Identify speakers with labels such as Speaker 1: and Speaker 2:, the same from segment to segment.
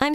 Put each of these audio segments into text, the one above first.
Speaker 1: I'm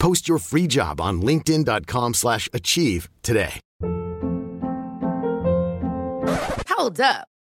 Speaker 2: Post your free job on linkedin.com slash achieve today.
Speaker 3: Hold up.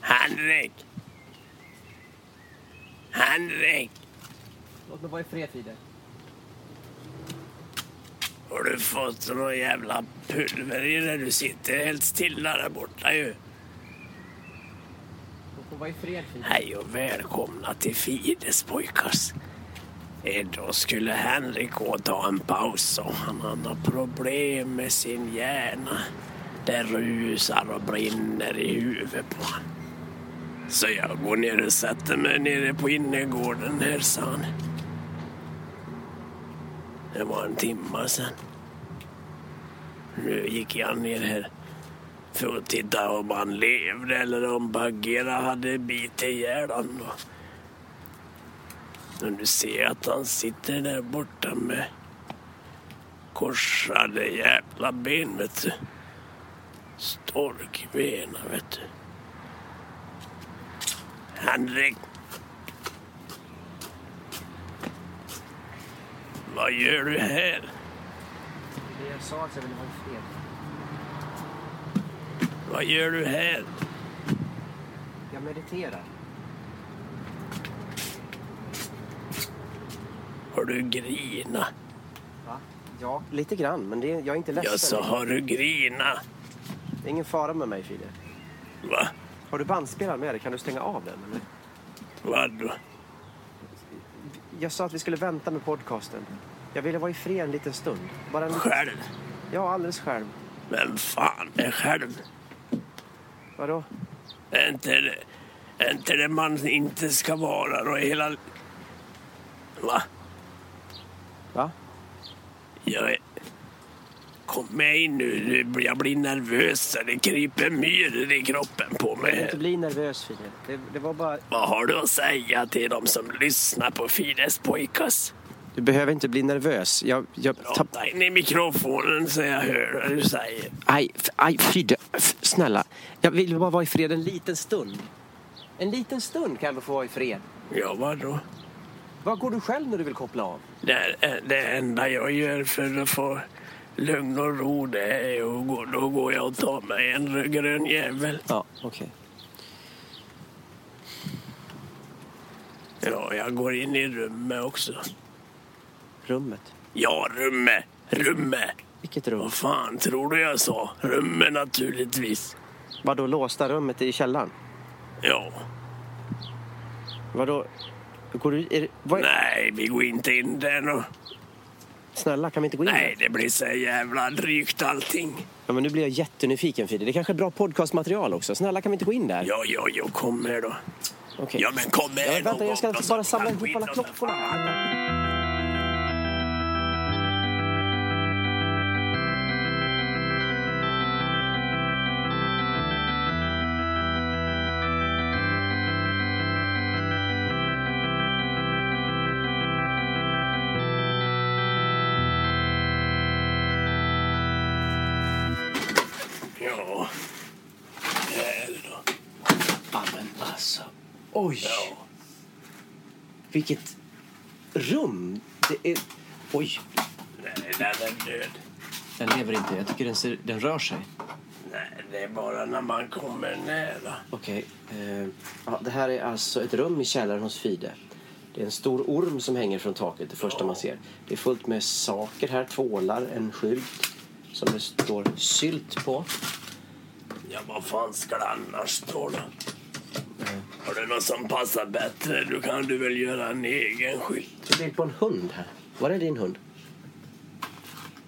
Speaker 4: Henrik! Henrik!
Speaker 5: Låt mig vara i fred, Fide.
Speaker 4: Har du fått någon jävla pulver i när du sitter helt stilla där borta ju?
Speaker 5: Låt mig vara i fred, Fide.
Speaker 4: Hej och välkomna till Fides pojkars. Idag skulle Henrik gå och ta en paus sa han. Han har problem med sin hjärna. Det rusar och brinner i huvudet på han. Så jag går ner och sätter mig nere på innergården här sa han. Det var en timma sen. Nu gick jag ner här för att titta om han levde eller om Bagheera hade bitit ihjäl honom. Och nu ser jag att han sitter där borta med korsade jävla ben, vet du. Storkbena, vet du. Henrik! Vad gör du här?
Speaker 5: Det jag sa att jag ville vara i fred.
Speaker 4: Vad gör du här?
Speaker 5: Jag mediterar.
Speaker 4: Har du grina?
Speaker 5: Va? Ja, lite grann. Men det, jag är inte ledsen.
Speaker 4: Jag sa, har du grina?
Speaker 5: Det är ingen fara med mig, Fide.
Speaker 4: Va?
Speaker 5: Har du bandspelaren med dig? Kan du stänga av den? Eller?
Speaker 4: Vadå?
Speaker 5: Jag sa att vi skulle vänta med podcasten. Jag ville vara i fred en liten stund. Bara en...
Speaker 4: Själv?
Speaker 5: Ja, alldeles själv.
Speaker 4: Vem fan är själv?
Speaker 5: Vadå?
Speaker 4: Är inte det, är inte det man inte ska vara då i hela... Va?
Speaker 5: Va?
Speaker 4: Jag är... Kom med in nu, nu blir- jag blir nervös. Det kryper myror i kroppen på mig.
Speaker 5: Du inte
Speaker 4: här.
Speaker 5: bli nervös, Fide. Det, det var bara...
Speaker 4: Vad har du att säga till de som lyssnar på Fides pojkas?
Speaker 5: Du behöver inte bli nervös. Jag... jag
Speaker 4: Prata in i mikrofonen så jag hör vad du säger.
Speaker 5: Aj, f- aj, Fide. F- Snälla. Jag vill bara vara i fred en liten stund. En liten stund kan du få vara i fred.
Speaker 4: Ja, vadå?
Speaker 5: Var går du själv när du vill koppla av?
Speaker 4: Det, det enda jag gör för att få lugn och ro det är att gå, då går jag och tar mig en grön jävel.
Speaker 5: Ja, okej.
Speaker 4: Ja, jag går in i rummet också.
Speaker 5: Rummet.
Speaker 4: Ja, rummet! Rummet!
Speaker 5: Vilket rum?
Speaker 4: Vad fan tror du jag sa? Rummet naturligtvis.
Speaker 5: Vadå låsta rummet i källaren?
Speaker 4: Ja.
Speaker 5: Vadå? Går du... Är, det- vad,
Speaker 4: Nej, vi går inte in där nu.
Speaker 5: Snälla, kan vi inte gå in?
Speaker 4: Nej, det blir så jävla drygt allting.
Speaker 5: Ja, men nu blir jag jättenyfiken, Fide. Det är kanske är bra podcastmaterial också. Snälla, kan vi inte gå in där?
Speaker 4: Ja, ja, ja, kom här då.
Speaker 5: Okej.
Speaker 4: Ja, men kom här
Speaker 5: Ja, vänta, jag ska
Speaker 4: någon gång då,
Speaker 5: bara
Speaker 4: så
Speaker 5: samla
Speaker 4: kan
Speaker 5: ihop
Speaker 4: skit
Speaker 5: alla
Speaker 4: och-
Speaker 5: klockorna. här.
Speaker 4: Ja. Här då.
Speaker 5: Ja, men alltså. Oj!
Speaker 4: Ja.
Speaker 5: Vilket rum! Det är... Oj,
Speaker 4: Nej, den är död.
Speaker 5: den lever inte. Jag tycker den, ser, den rör sig.
Speaker 4: Nej, det är bara när man kommer nära.
Speaker 5: Okej. eh, ja, det här är alltså ett rum i källaren hos Fide. Det är en stor orm som hänger från taket, det första man ser. Det är fullt med saker här, tvålar, en skylt som det står sylt på.
Speaker 4: Ja, vad fan ska det annars stå då? Har du något som passar bättre? Då kan du väl göra en egen skylt?
Speaker 5: Det är bild på en hund här. Var är din hund?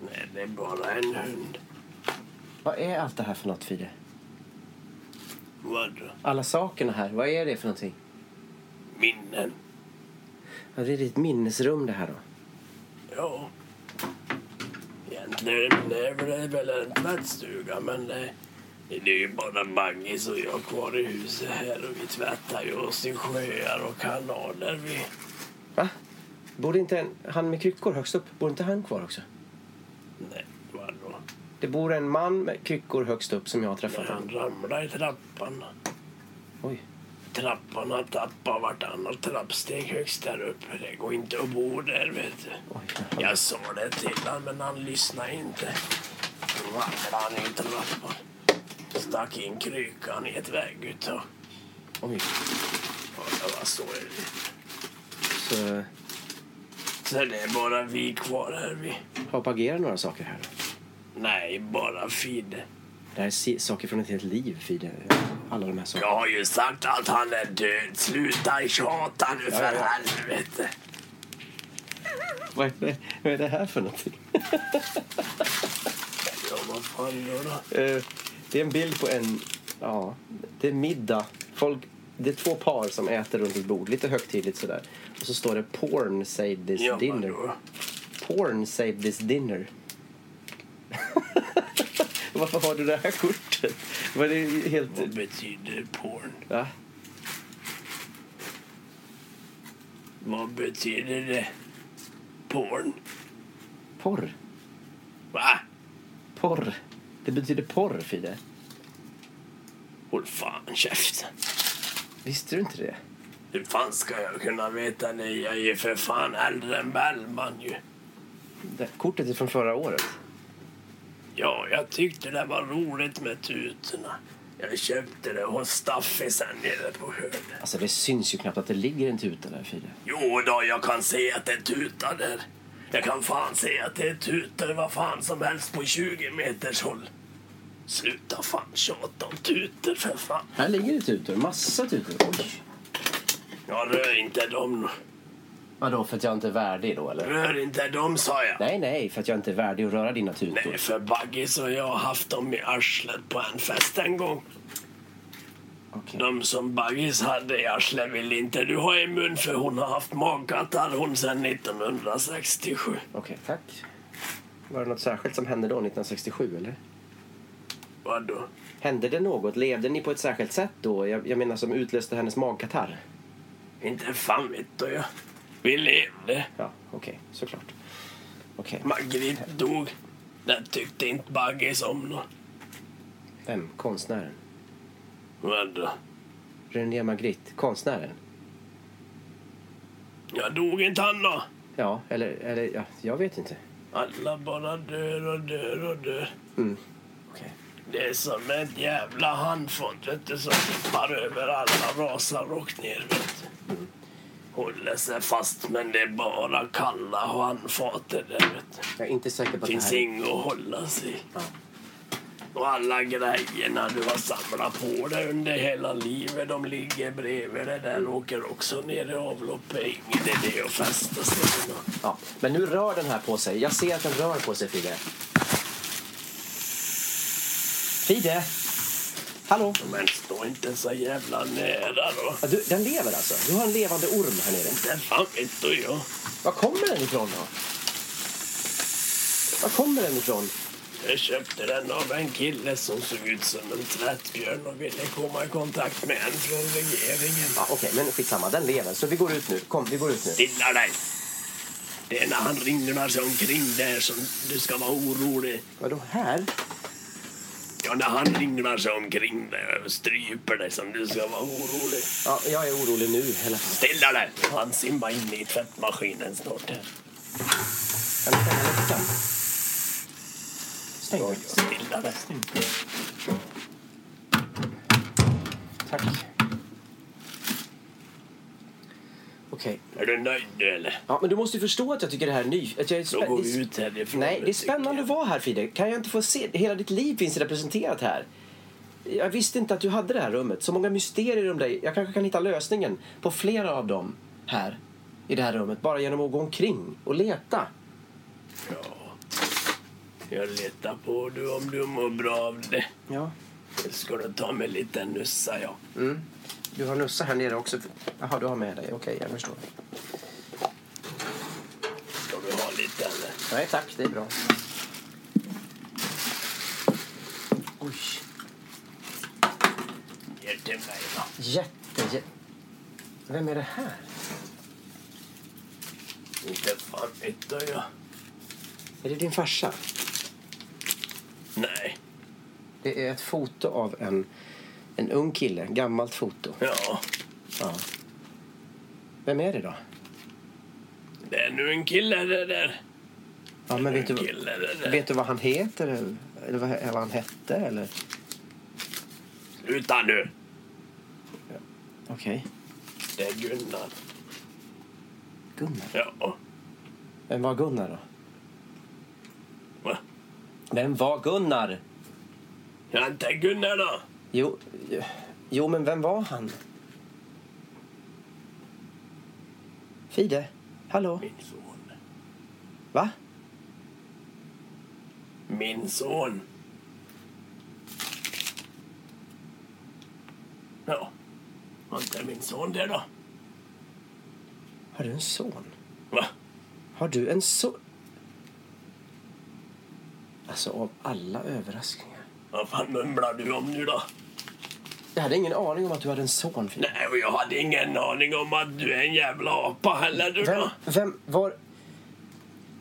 Speaker 4: Nej, det är bara en hund.
Speaker 5: Vad är allt det här för något, Fide?
Speaker 4: Vadå?
Speaker 5: Alla sakerna här, vad är det för någonting?
Speaker 4: Minnen?
Speaker 5: Ja, det är ditt minnesrum det här då.
Speaker 4: Ja. Egentligen är det väl en tvättstuga, men det, det är ju bara Maggis och jag kvar i huset här och vi tvättar ju oss i sjöar och kanaler. Vi,
Speaker 5: Va? Borde inte en, han med kryckor högst upp, borde inte han kvar också?
Speaker 4: nej, vadå?
Speaker 5: Det bor en man med kryckor högst upp som jag har
Speaker 4: När
Speaker 5: träffat.
Speaker 4: han ramlade i trappan.
Speaker 5: Oj.
Speaker 4: Trappan har tappat vartannat trappsteg högst där uppe. Det går inte att bo där, vet du.
Speaker 5: Oj.
Speaker 4: Jag sa det till honom, men han lyssnade inte. Då ramlade han i trappan. Stack in krykan i ett vägguttag.
Speaker 5: Oj.
Speaker 4: Ja, det var så är det.
Speaker 5: Så
Speaker 4: Så det är bara vi kvar här. Vi.
Speaker 5: propagerar några saker här. då.
Speaker 4: Nej, bara Fide.
Speaker 5: Det här är si- saker från ett helt liv, Fide. Alla de här sakerna.
Speaker 4: Jag har ju sagt att han är död. Sluta tjata nu för
Speaker 5: Ja, ja.
Speaker 4: helvete.
Speaker 5: Vad, är det, vad är det här för någonting?
Speaker 4: Ja, vad fan gör han?
Speaker 5: Eh, det är en bild på en... Ja, det är middag. Folk, det är två par som äter runt ett bord, lite högtidligt sådär. Och så står det “Porn save this
Speaker 4: Ja,
Speaker 5: dinner”.
Speaker 4: vadå?
Speaker 5: “Porn save this dinner”. Varför har du det här kortet? Var det är helt...
Speaker 4: Vad betyder porn?
Speaker 5: Va?
Speaker 4: Vad betyder det? Porn?
Speaker 5: Porr.
Speaker 4: Va?
Speaker 5: Porr. Det betyder porr, Fide.
Speaker 4: Håll fan käften.
Speaker 5: Visste du inte det?
Speaker 4: Hur fan ska jag kunna veta det? Jag är ju för fan äldre än Bellman ju.
Speaker 5: det kortet är från förra året.
Speaker 4: Ja, jag tyckte det var roligt med tutorna. Jag köpte det hos Staffis här nere på hörnet.
Speaker 5: Alltså, det syns ju knappt att det ligger en tuta där, Fide.
Speaker 4: Jo då, jag kan se att det tutar där. Jag kan fan se att det tutar vad fan som helst på 20 meters håll. Sluta fan tjata om tutor för fan.
Speaker 5: Här ligger det tutor. Massa tutor. Oj.
Speaker 4: Jag rör inte dem.
Speaker 5: Vadå, för att jag inte är värdig då eller?
Speaker 4: Rör inte dem sa jag.
Speaker 5: Nej, nej, för att jag inte är värdig att röra dina tutor.
Speaker 4: Nej, för Baggis och jag har haft dem i arslet på en fest en gång.
Speaker 5: Okej.
Speaker 4: De som Baggis hade i arslet vill inte du ha i mun för hon har haft magkatarr hon sedan 1967.
Speaker 5: Okej, tack. Var det något särskilt som hände då, 1967 eller?
Speaker 4: Vadå?
Speaker 5: Hände det något? Levde ni på ett särskilt sätt då? Jag, jag menar som utlöste hennes magkatarr?
Speaker 4: Inte fan vet du jag. Vi levde.
Speaker 5: Ja, okej, såklart. Okej,
Speaker 4: Margrit dog. Det tyckte inte Baggis om då.
Speaker 5: vem? Konstnären?
Speaker 4: Vadå?
Speaker 5: René Magritte, konstnären?
Speaker 4: Jag dog inte han då.
Speaker 5: Ja, eller, eller ja, jag vet inte.
Speaker 4: Alla bara dör och dör och dör.
Speaker 5: Okej.
Speaker 4: Det är som ett jävla handfat vet du, som tippar över alla rasar rakt ner. Vet du. Håller sig fast men det är bara kalla handfat det där. Vet du.
Speaker 5: Jag är inte säker på att
Speaker 4: Finns
Speaker 5: det här...
Speaker 4: inget att hålla sig i. Och alla grejerna du har samlat på dig under hela livet de ligger bredvid det där åker också ner i avloppet. Inget idé att fästa sig vid något.
Speaker 5: Ja, men nu rör den här på sig. Jag ser att den rör på sig, Fide. Fide! Hallå?
Speaker 4: Men stå inte så jävla nära då.
Speaker 5: Ja, du, den lever alltså? Du har en levande orm här nere.
Speaker 4: Det fan vet du jag.
Speaker 5: Var kommer den ifrån då? Var kommer den ifrån?
Speaker 4: Jag köpte den av en kille som såg ut som en tvättbjörn och ville komma i kontakt med en från regeringen.
Speaker 5: Ja, Okej, men skitsamma. Den lever. Så vi går ut nu. Kom, vi går ut nu.
Speaker 4: Stilla dig! Det är när han ringlar sig omkring där som du ska vara orolig.
Speaker 5: Vadå, här?
Speaker 4: Ja, när han ringlar sig omkring där och stryper dig som du ska vara orolig.
Speaker 5: Ja, jag är orolig nu i alla fall.
Speaker 4: Stilla dig! Han simmar in i tvättmaskinen snart. här.
Speaker 5: Kan du stänga luckan? Stäng luckan.
Speaker 4: Stilla dig!
Speaker 5: Tack. Okej, Okej.
Speaker 4: Är du nöjd nu eller?
Speaker 5: Ja, men du måste ju förstå att jag tycker det här är ny... Att jag är
Speaker 4: Då
Speaker 5: spä-
Speaker 4: går
Speaker 5: det är
Speaker 4: vi
Speaker 5: sp-
Speaker 4: ut härifrån.
Speaker 5: Nej, det är
Speaker 4: tycker
Speaker 5: spännande
Speaker 4: jag.
Speaker 5: att vara här Fide. Kan jag inte få se? Hela ditt liv finns representerat här. Jag visste inte att du hade det här rummet. Så många mysterier om dig. Jag kanske kan hitta lösningen på flera av dem här i det här rummet. Bara genom att gå omkring och leta.
Speaker 4: Jag letar på du om du mår bra av det.
Speaker 5: Ja,
Speaker 4: Ska du ta med lite nussa ja.
Speaker 5: du har Nussa här nere också. Jaha, du har med dig. Okej, jag förstår.
Speaker 4: Ska du ha lite eller?
Speaker 5: Nej tack, det är bra. Oj,
Speaker 4: Ger till mig då.
Speaker 5: jätte, jätte... Vem är det här?
Speaker 4: Inte fan vet du jag.
Speaker 5: Är det din farsa?
Speaker 4: Nej.
Speaker 5: Det är ett foto av en, en ung kille. Gammalt foto.
Speaker 4: Ja.
Speaker 5: Ja. Vem är det då?
Speaker 4: Det är nu en kille det där.
Speaker 5: Ja, men vet,
Speaker 4: En
Speaker 5: du,
Speaker 4: kille det där.
Speaker 5: vet du vad han heter? eller- Eller vad, eller vad han hette? Eller?
Speaker 4: Sluta nu.
Speaker 5: Okej.
Speaker 4: Det är Gunnar.
Speaker 5: Gunnar.
Speaker 4: Ja.
Speaker 5: Vem var Gunnar då?
Speaker 4: Va?
Speaker 5: Vem var Gunnar?
Speaker 4: Ja, inte Gunnar då.
Speaker 5: Jo, jo men vem var han? Fide? Hallå?
Speaker 4: Min son.
Speaker 5: Va?
Speaker 4: Min son. Ja. Var inte min son det då?
Speaker 5: Har du en son?
Speaker 4: Va?
Speaker 5: Har du en son? Alltså, av alla överraskningar.
Speaker 4: Vad fan mumlar du om nu då?
Speaker 5: Jag hade ingen aning om att du hade en son, Fide.
Speaker 4: Nej, och jag hade ingen aning om att du är en jävla apa heller du
Speaker 5: Vem,
Speaker 4: då.
Speaker 5: vem, var...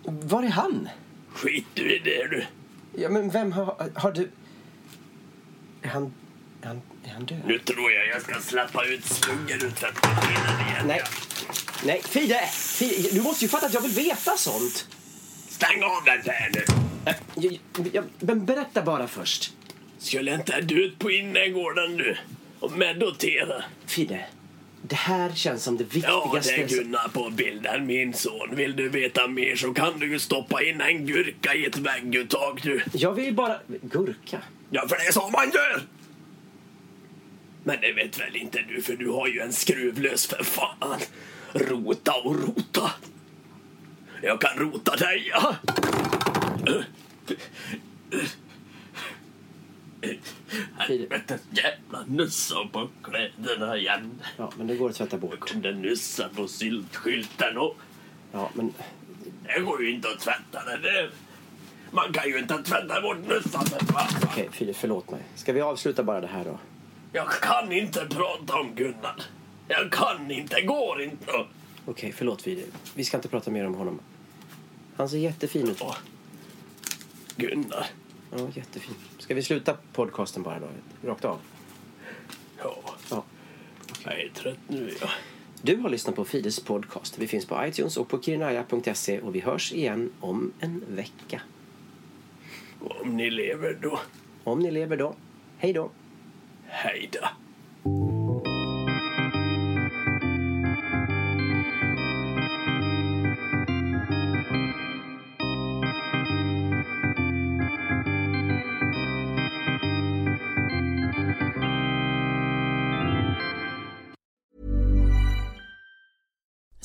Speaker 5: Var är han?
Speaker 4: Skit du i det du.
Speaker 5: Ja, men vem har, har du... Är han, är han, är han död?
Speaker 4: Nu tror jag jag ska släppa ut slungen ur tvättmaskinen igen.
Speaker 5: Nej. Nej, Fide! Fide! Du måste ju fatta att jag vill veta sånt!
Speaker 4: Stäng av den där nu.
Speaker 5: Nej, Jag, jag, men berätta bara först.
Speaker 4: Skulle inte du ut på innergården nu? Och med dotera?
Speaker 5: Fide, det här känns som det
Speaker 4: Ja,
Speaker 5: viktigaste...
Speaker 4: det är Gunnar på bilden, min son. Vill du veta mer så kan du ju stoppa in en gurka i ett vägguttag du.
Speaker 5: jag vill bara... Gurka?
Speaker 4: Ja, för det är så man gör! Men det vet väl inte du, för du har ju en skruvlös för fan. Rota och rota. Jag kan rota dig, ja. Helvete, jävla nussa på kläderna igen.
Speaker 5: Ja, men det går att tvätta
Speaker 4: Jag
Speaker 5: bort.
Speaker 4: kunde nussa på syltskylten och...
Speaker 5: Ja, men...
Speaker 4: Det går ju inte att tvätta det där. Man kan ju inte tvätta bort nussan för fan.
Speaker 5: Okej, Fide, förlåt mig. Ska vi avsluta bara det här då?
Speaker 4: Jag kan inte prata om Gunnar. Jag kan inte, går inte.
Speaker 5: Okej, förlåt Fide. Vi ska inte prata mer om honom. Han ser jättefin ut.
Speaker 4: Åh. Gunnar.
Speaker 5: Ja, jättefin. Ska vi sluta podcasten bara då? Rakt av?
Speaker 4: Ja,
Speaker 5: Ja.
Speaker 4: jag är trött nu. Ja.
Speaker 5: Du har lyssnat på Fides podcast. Vi finns på iTunes och på kirinaya.se och vi hörs igen om en vecka.
Speaker 4: Och Om ni lever då,
Speaker 5: Om ni lever då. Hej då!
Speaker 4: hej då.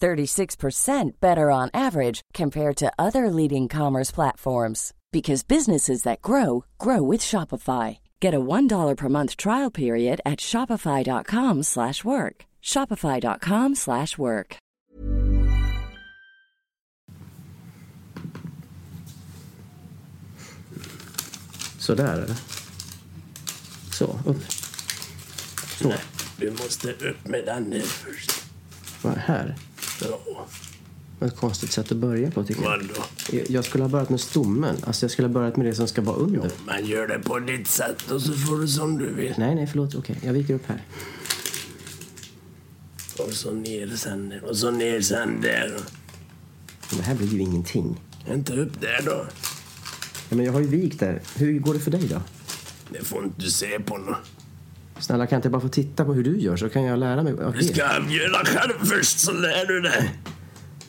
Speaker 6: 36% better on average compared to other leading commerce platforms because businesses that grow grow with Shopify. Get a $1 per month trial period at shopify.com/work. slash work. shopify.com/work. slash work.
Speaker 5: Sådär eller? Så, upp. Så,
Speaker 4: Du måste upp med den nu först.
Speaker 5: vad här?
Speaker 4: Ja.
Speaker 5: Ett konstigt sätt att börja på tycker jag.
Speaker 4: Vadå?
Speaker 5: Jag- Jag skulle ha börjat med stommen. Alltså jag skulle ha börjat med det som ska vara under.
Speaker 4: Men gör det på ditt sätt och så får du som du vill.
Speaker 5: Nej, nej, förlåt. Okej, jag viker upp här.
Speaker 4: Och så ner sen där. och så ner sen där.
Speaker 5: Men det här blir ju ingenting.
Speaker 4: Inte upp där då.
Speaker 5: Ja, men jag har ju vikt där. Hur går det för dig då?
Speaker 4: Det får inte du se på nu.
Speaker 5: Snälla, kan jag inte bara få titta på hur du gör så kan jag lära mig av
Speaker 4: Du ska
Speaker 5: det?
Speaker 4: avgöra själv först så lär du dig.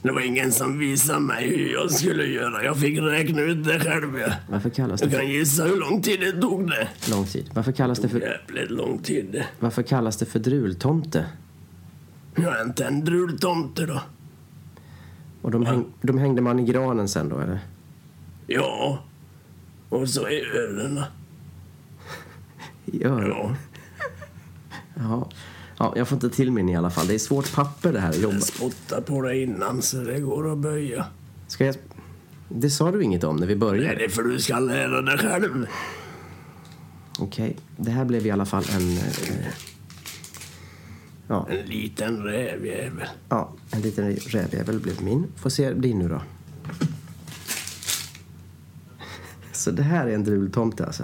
Speaker 4: Det var ingen som visade mig hur jag skulle göra. Jag fick räkna ut det själv. ja.
Speaker 5: Varför kallas det
Speaker 4: Du
Speaker 5: för
Speaker 4: kan gissa hur lång tid det tog det.
Speaker 5: lång tid? Varför kallas det för,
Speaker 4: Jävligt lång tid.
Speaker 5: varför kallas det för drultomte?
Speaker 4: Jag är inte en drultomte då.
Speaker 5: Och de, häng, de hängde man i granen sen då, eller?
Speaker 4: Ja. Och så i öronen.
Speaker 5: I öronen?
Speaker 4: Ja.
Speaker 5: Ja. ja. Jag får inte till min i alla fall. Det är svårt papper det här att jobba.
Speaker 4: Jag spottade på det innan så det går att böja.
Speaker 5: Ska jag... Det sa du inget om när vi
Speaker 4: Nej,
Speaker 5: började.
Speaker 4: det är för du ska lära dig själv.
Speaker 5: Okej, det här blev i alla fall en... eh, Ja,
Speaker 4: En liten rävjävel.
Speaker 5: ja en liten rävjävel blev min. Får se din nu då. Så det här är en drultomte alltså.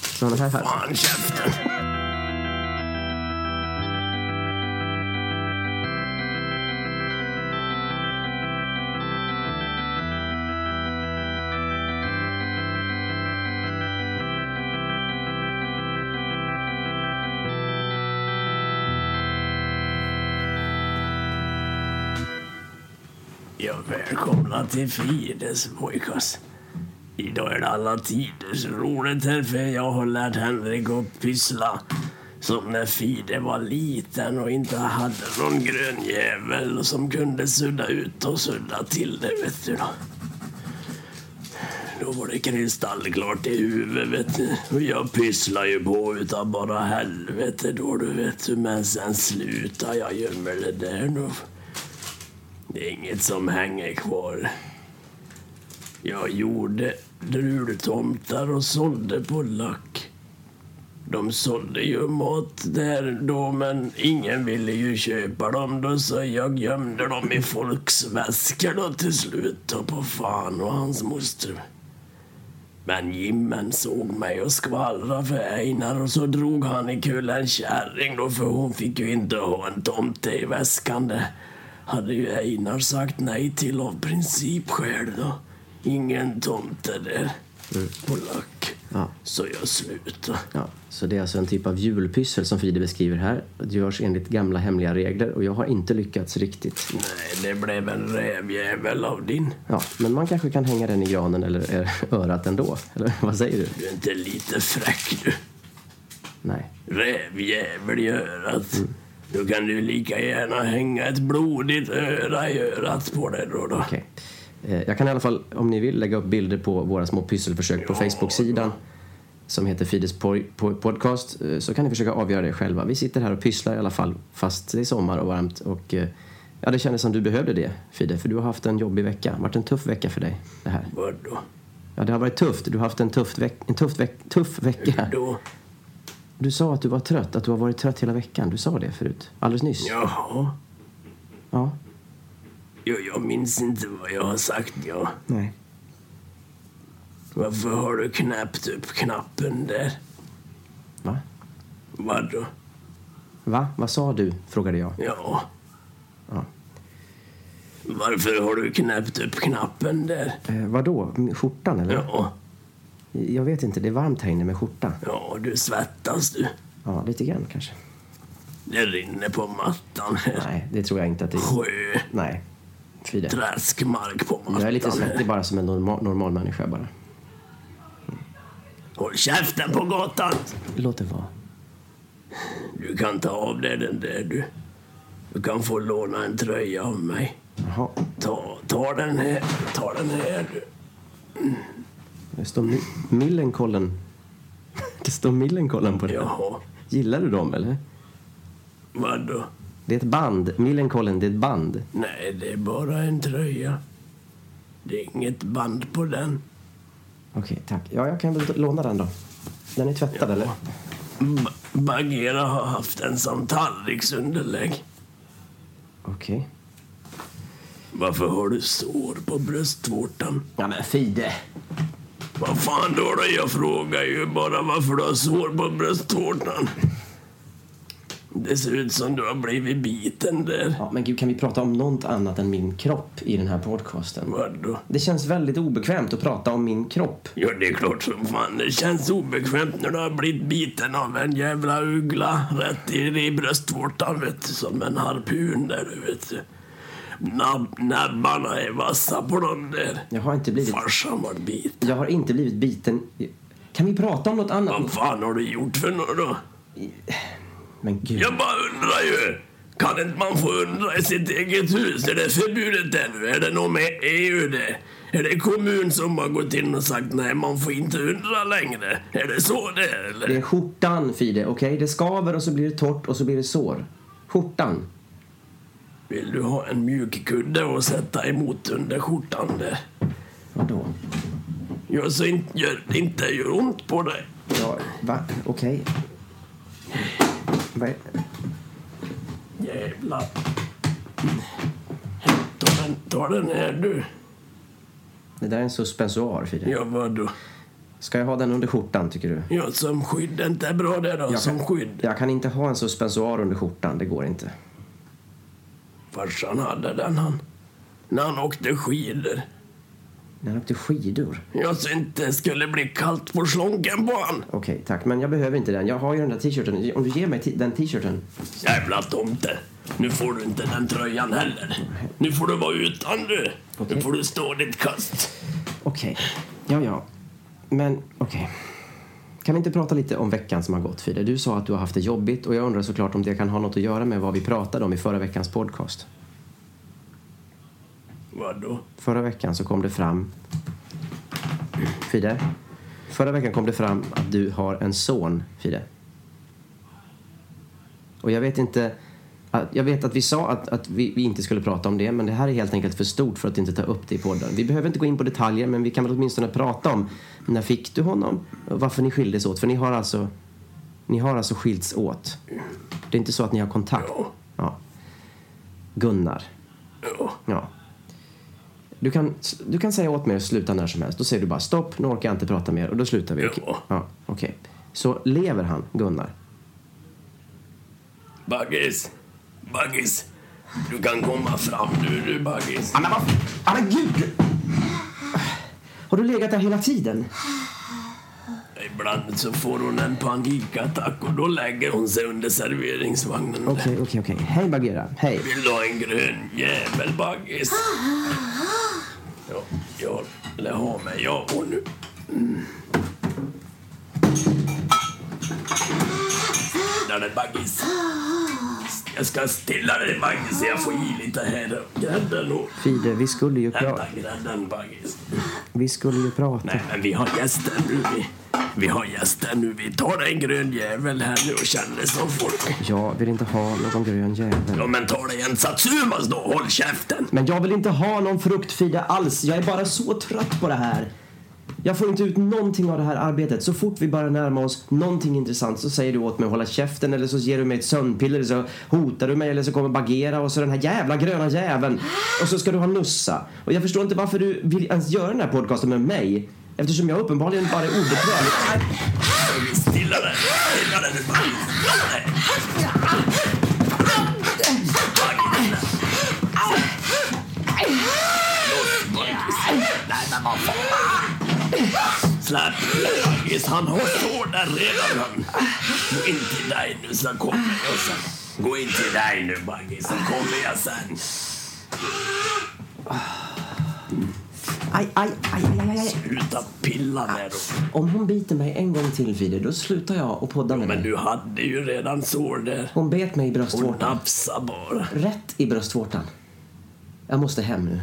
Speaker 5: Så den här... här...
Speaker 4: Fan käften! Ja, välkomna till Fides pojkas. Idag är det alla tiders roligt här för jag har lärt Henrik att pyssla. Som när Fide var liten och inte hade någon grön jävel som kunde sudda ut och sudda till det, vet du då. Då var det kristallklart i huvudet, vet du. Och jag pysslar ju på utan bara helvete då, du vet du. Men sen slutar jag ju med det där då. Det är inget som hänger kvar. Jag gjorde drultomtar och sålde på lack. De sålde ju mat där då, men ingen ville ju köpa dem då, så jag gömde dem i folks väskor då till slut då, på fan och hans moster. Men Jimmen såg mig och skvallrade för Einar och så drog han ikul en kärring då för hon fick ju inte ha en tomte i väskan. Det hade ju Einar sagt nej till av principskäl då. Ingen tomte där på lack.
Speaker 5: Ja.
Speaker 4: Så jag slutade.
Speaker 5: Ja, så det är alltså en typ av julpyssel som Fide beskriver här. Det görs enligt gamla hemliga regler och jag har inte lyckats riktigt.
Speaker 4: Nej, det blev en rävjävel av din.
Speaker 5: Ja, men man kanske kan hänga den i granen eller eh, örat ändå. Eller vad säger du?
Speaker 4: Du är inte lite fräck du.
Speaker 5: Nej.
Speaker 4: Rävjävel i örat. Då kan du lika gärna hänga ett blodigt öra i örat på dig då. då.
Speaker 5: Okej. Eh, Jag kan i alla fall, om ni vill, lägga upp bilder på våra små pysselförsök på Facebook-sidan som heter Fides po- po- podcast eh, så kan ni försöka avgöra det själva. Vi sitter här och pysslar i alla fall fast det är sommar och varmt och eh, ja, det kändes som du behövde det Fide för du har haft en jobbig vecka. Det har varit en tuff vecka för dig det här.
Speaker 4: Vadå?
Speaker 5: Ja, det har varit tufft. Du har haft en tuff, veck- en tuff, veck- tuff vecka.
Speaker 4: Då?
Speaker 5: Du sa att du var trött, att du har varit trött hela veckan. Du sa det förut, alldeles nyss.
Speaker 4: Jaha.
Speaker 5: Ja.
Speaker 4: Jo, jag minns inte vad jag har sagt. Ja.
Speaker 5: Nej.
Speaker 4: Varför har du knäppt upp knappen där?
Speaker 5: Va?
Speaker 4: Vadå?
Speaker 5: Va? Vad sa du? Frågade jag.
Speaker 4: Ja.
Speaker 5: Ja.
Speaker 4: Varför har du knäppt upp knappen där?
Speaker 5: Eh, vadå? Min Skjortan eller?
Speaker 4: Ja.
Speaker 5: Jag vet inte, det är varmt här inne med skjorta.
Speaker 4: Ja, du svettas du.
Speaker 5: Ja, lite grann kanske.
Speaker 4: Det rinner på mattan här.
Speaker 5: Nej, det tror jag inte att det är.
Speaker 4: Sjö,
Speaker 5: Nej. Fy det.
Speaker 4: träskmark på mattan.
Speaker 5: Jag är lite svettig
Speaker 4: här.
Speaker 5: bara som en normal, normal människa bara.
Speaker 4: Håll käften på gatan!
Speaker 5: Låt det vara.
Speaker 4: Du kan ta av dig den där du. Du kan få låna en tröja av mig.
Speaker 5: Jaha,
Speaker 4: Ta, ta den här. Ta den här du.
Speaker 5: det står Mi- Millenkollen. Det står Millenkollen på den.
Speaker 4: Jaha.
Speaker 5: Gillar du dem eller?
Speaker 4: Vadå?
Speaker 5: Det är ett band. Millenkollen, det är ett band.
Speaker 4: Nej, det är bara en tröja. Det är inget band på den.
Speaker 5: Okej, tack. Ja, jag kan väl låna den då. Den är tvättad eller?
Speaker 4: B- Bagheera har haft den som tallriksunderlägg.
Speaker 5: Okej.
Speaker 4: Varför har du sår på bröstvårtan?
Speaker 5: Ja, men Fide.
Speaker 4: Vad fan då? då? Jag frågar ju bara varför du har sår på bröstvårtan. Det ser ut som du har blivit biten där.
Speaker 5: Ja, men gud, kan vi prata om något annat än min kropp i den här podcasten?
Speaker 4: Vadå?
Speaker 5: Det känns väldigt obekvämt att prata om min kropp.
Speaker 4: Ja, det är klart som fan det känns obekvämt när du har blivit biten av en jävla uggla rätt in i bröstvårtan, vet du, som en harpun där, du vet du. Nab- näbbarna är vassa på dem där.
Speaker 5: Jag har inte blivit,
Speaker 4: Farsan var bit.
Speaker 5: jag har inte blivit biten. Kan vi prata om något
Speaker 4: Vad
Speaker 5: annat?
Speaker 4: fan har du gjort för något då?
Speaker 5: Men gud.
Speaker 4: Jag bara undrar ju. Kan inte man få undra i sitt eget hus? Är det förbjudet ännu? Är det något med EU det? Är det kommun som har gått in och sagt nej, man får inte undra längre? Är det så det är eller?
Speaker 5: Det är skjortan, Fide. Okej, det skaver och så blir det torrt och så blir det sår. Skjortan.
Speaker 4: Vill du ha en mjuk kudde att sätta emot under skjortan där?
Speaker 5: Vadå?
Speaker 4: Gör så inte, gör, inte gör ont på dig.
Speaker 5: Ja, va? Okej. Vad är-
Speaker 4: Jävlar. Ta den, ta den här du.
Speaker 5: Det där är en suspensoar, Fide.
Speaker 4: Ja, vadå?
Speaker 5: Ska jag ha den under skjortan, tycker du?
Speaker 4: Ja, som skydd. Är inte bra det då?
Speaker 5: Jag
Speaker 4: som
Speaker 5: kan,
Speaker 4: skydd.
Speaker 5: Jag kan inte ha en suspensoar under skjortan. Det går inte.
Speaker 4: Farsan hade den han. När han åkte skidor.
Speaker 5: När han åkte skidor?
Speaker 4: Jag så inte det skulle bli kallt på slonken på han.
Speaker 5: Okej, tack. Men jag behöver inte den. Jag har ju den där t-shirten. Om du ger mig t- den t-shirten.
Speaker 4: Jävla tomte. Nu får du inte den tröjan heller. Nu får du vara utan du.
Speaker 5: Okej.
Speaker 4: Nu får du stå ditt kast.
Speaker 5: Okej. Ja, ja. Men okej. Kan vi inte prata lite om veckan som har gått, Fide? Du sa att du har haft det jobbigt och jag undrar såklart om det kan ha något att göra med vad vi pratade om i förra veckans podcast.
Speaker 4: Vadå?
Speaker 5: Förra veckan så kom det fram... Fide? Förra veckan kom det fram att du har en son, Fide. Och jag vet inte... att- Jag vet att vi sa att, att vi, vi inte skulle prata om det, men det här är helt enkelt för stort för att inte ta upp det i podden. Vi behöver inte gå in på detaljer, men vi kan väl åtminstone prata om när fick du honom? Och Varför ni skildes åt? För ni har alltså... Ni har alltså skilts åt. Det är inte så att ni har kontakt.
Speaker 4: Ja.
Speaker 5: Ja. Gunnar.
Speaker 4: Ja.
Speaker 5: Ja. Du kan, du kan säga åt mig att sluta när som helst. Då säger du bara stopp, nu orkar jag inte prata mer och då slutar vi.
Speaker 4: Ja.
Speaker 5: Okej. Ja, okej. Så lever han, Gunnar?
Speaker 4: Baggis. Baggis. Du kan komma fram nu du Baggis.
Speaker 5: Anna, vad... Anna, gud! Har du legat där hela tiden?
Speaker 4: Ibland så får hon en panikattack och då lägger hon sig under serveringsvagnen.
Speaker 5: Okej, okej, okej. Hej, Bagheera. Hej.
Speaker 4: Vill du ha en grön jävel Baggis? Ja, jag vill ha mig jag och nu. Mm. Där är Baggis. Jag ska stilla dig Baggis så jag får i lite här. Grädden och...
Speaker 5: Fide, vi skulle ju, pra-
Speaker 4: Hämta grädden Baggis.
Speaker 5: vi skulle ju prata.
Speaker 4: Nej, men vi har gäster nu. Vi, vi har gäster nu. Vi tar en grön jävel här nu och känner som folk.
Speaker 5: Jag vill inte ha någon grön jävel.
Speaker 4: Ja, men ta dig en Satsumas då. Håll käften.
Speaker 5: Men jag vill inte ha någon frukt, Fide, alls. Jag är bara så trött på det här. Jag får inte ut någonting av det här arbetet. Så fort vi bara närmar oss någonting intressant så säger du åt mig att hålla käften eller så ger du mig ett sömnpiller eller så hotar du mig eller så kommer Bagheera och så den här jävla gröna jäveln. Och så ska du ha Nussa. Och jag förstår inte varför du vill ens göra den här podcasten med mig. Eftersom jag uppenbarligen bara är obekväm.
Speaker 4: Stilla dig. Stilla dig nu, Baggis. Nej. Baggis. Loss, Baggis. Nej, men vad fan. Släpp Baggis. Han har sår där redan. han. Gå in till dig nu, så kommer jag sen. Gå in till dig nu, Baggis, så kommer jag sen.
Speaker 5: Aj, aj, aj, aj, aj, aj.
Speaker 4: Sluta pilla med dem.
Speaker 5: Om hon biter mig en gång till, Fide, då slutar jag och podda med
Speaker 4: Men
Speaker 5: dig.
Speaker 4: du hade ju redan sår där.
Speaker 5: Hon bet mig i
Speaker 4: Hon
Speaker 5: bröstvårtan.
Speaker 4: nafsar bara.
Speaker 5: Rätt i bröstvårtan. Jag måste hem nu.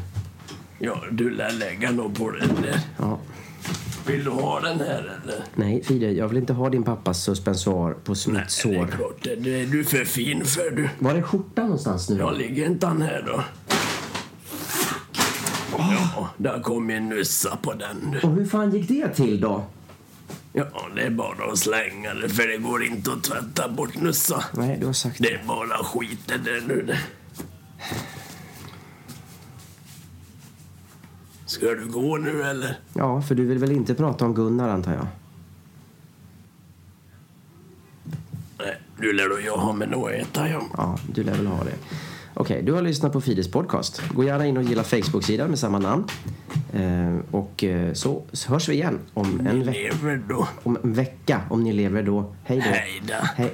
Speaker 4: Ja, du lär lägga något på den där.
Speaker 5: Ja.
Speaker 4: Vill du ha den här eller?
Speaker 5: Nej, Fide, jag vill inte ha din pappas suspensoar på
Speaker 4: Nej,
Speaker 5: mitt
Speaker 4: det är
Speaker 5: sår.
Speaker 4: klart. Det det är du för fin för du.
Speaker 5: Var är skjortan någonstans nu?
Speaker 4: Jag ligger inte han här då. Ja, där kom en nyssa på den.
Speaker 5: Och hur fan gick det till då?
Speaker 4: Ja, det är bara att slänga det för det går inte att tvätta bort nyssa.
Speaker 5: Nej, du har sagt
Speaker 4: Det är bara skit det där nu. Ska du gå nu eller?
Speaker 5: Ja, för du vill väl inte prata om Gunnar antar jag?
Speaker 4: Nej, nu lär du jag ha med något att äta ja.
Speaker 5: Ja, du lär väl ha det. Okej, du har lyssnat på Fides podcast. Gå gärna in och gilla Facebook-sidan med samma namn. Eh, och eh, så hörs vi igen om en, ve-
Speaker 4: Lever då.
Speaker 5: om en vecka. Om ni lever då. Hej då.
Speaker 4: Hej då.
Speaker 5: Hej.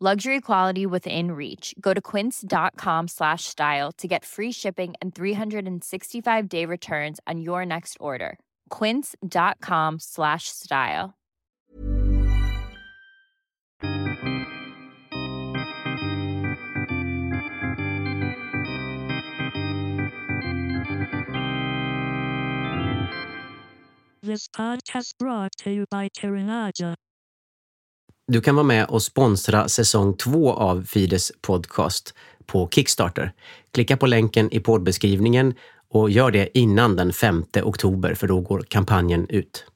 Speaker 7: Luxury quality within reach. Go to quince.com slash style to get free shipping and 365 day returns on your next order. Quince.com slash style.
Speaker 8: This podcast brought to you by Tirinaja.
Speaker 9: Du kan vara med och sponsra säsong två av Fides podcast på Kickstarter. Klicka på länken i poddbeskrivningen och gör det innan den 5 oktober för då går kampanjen ut.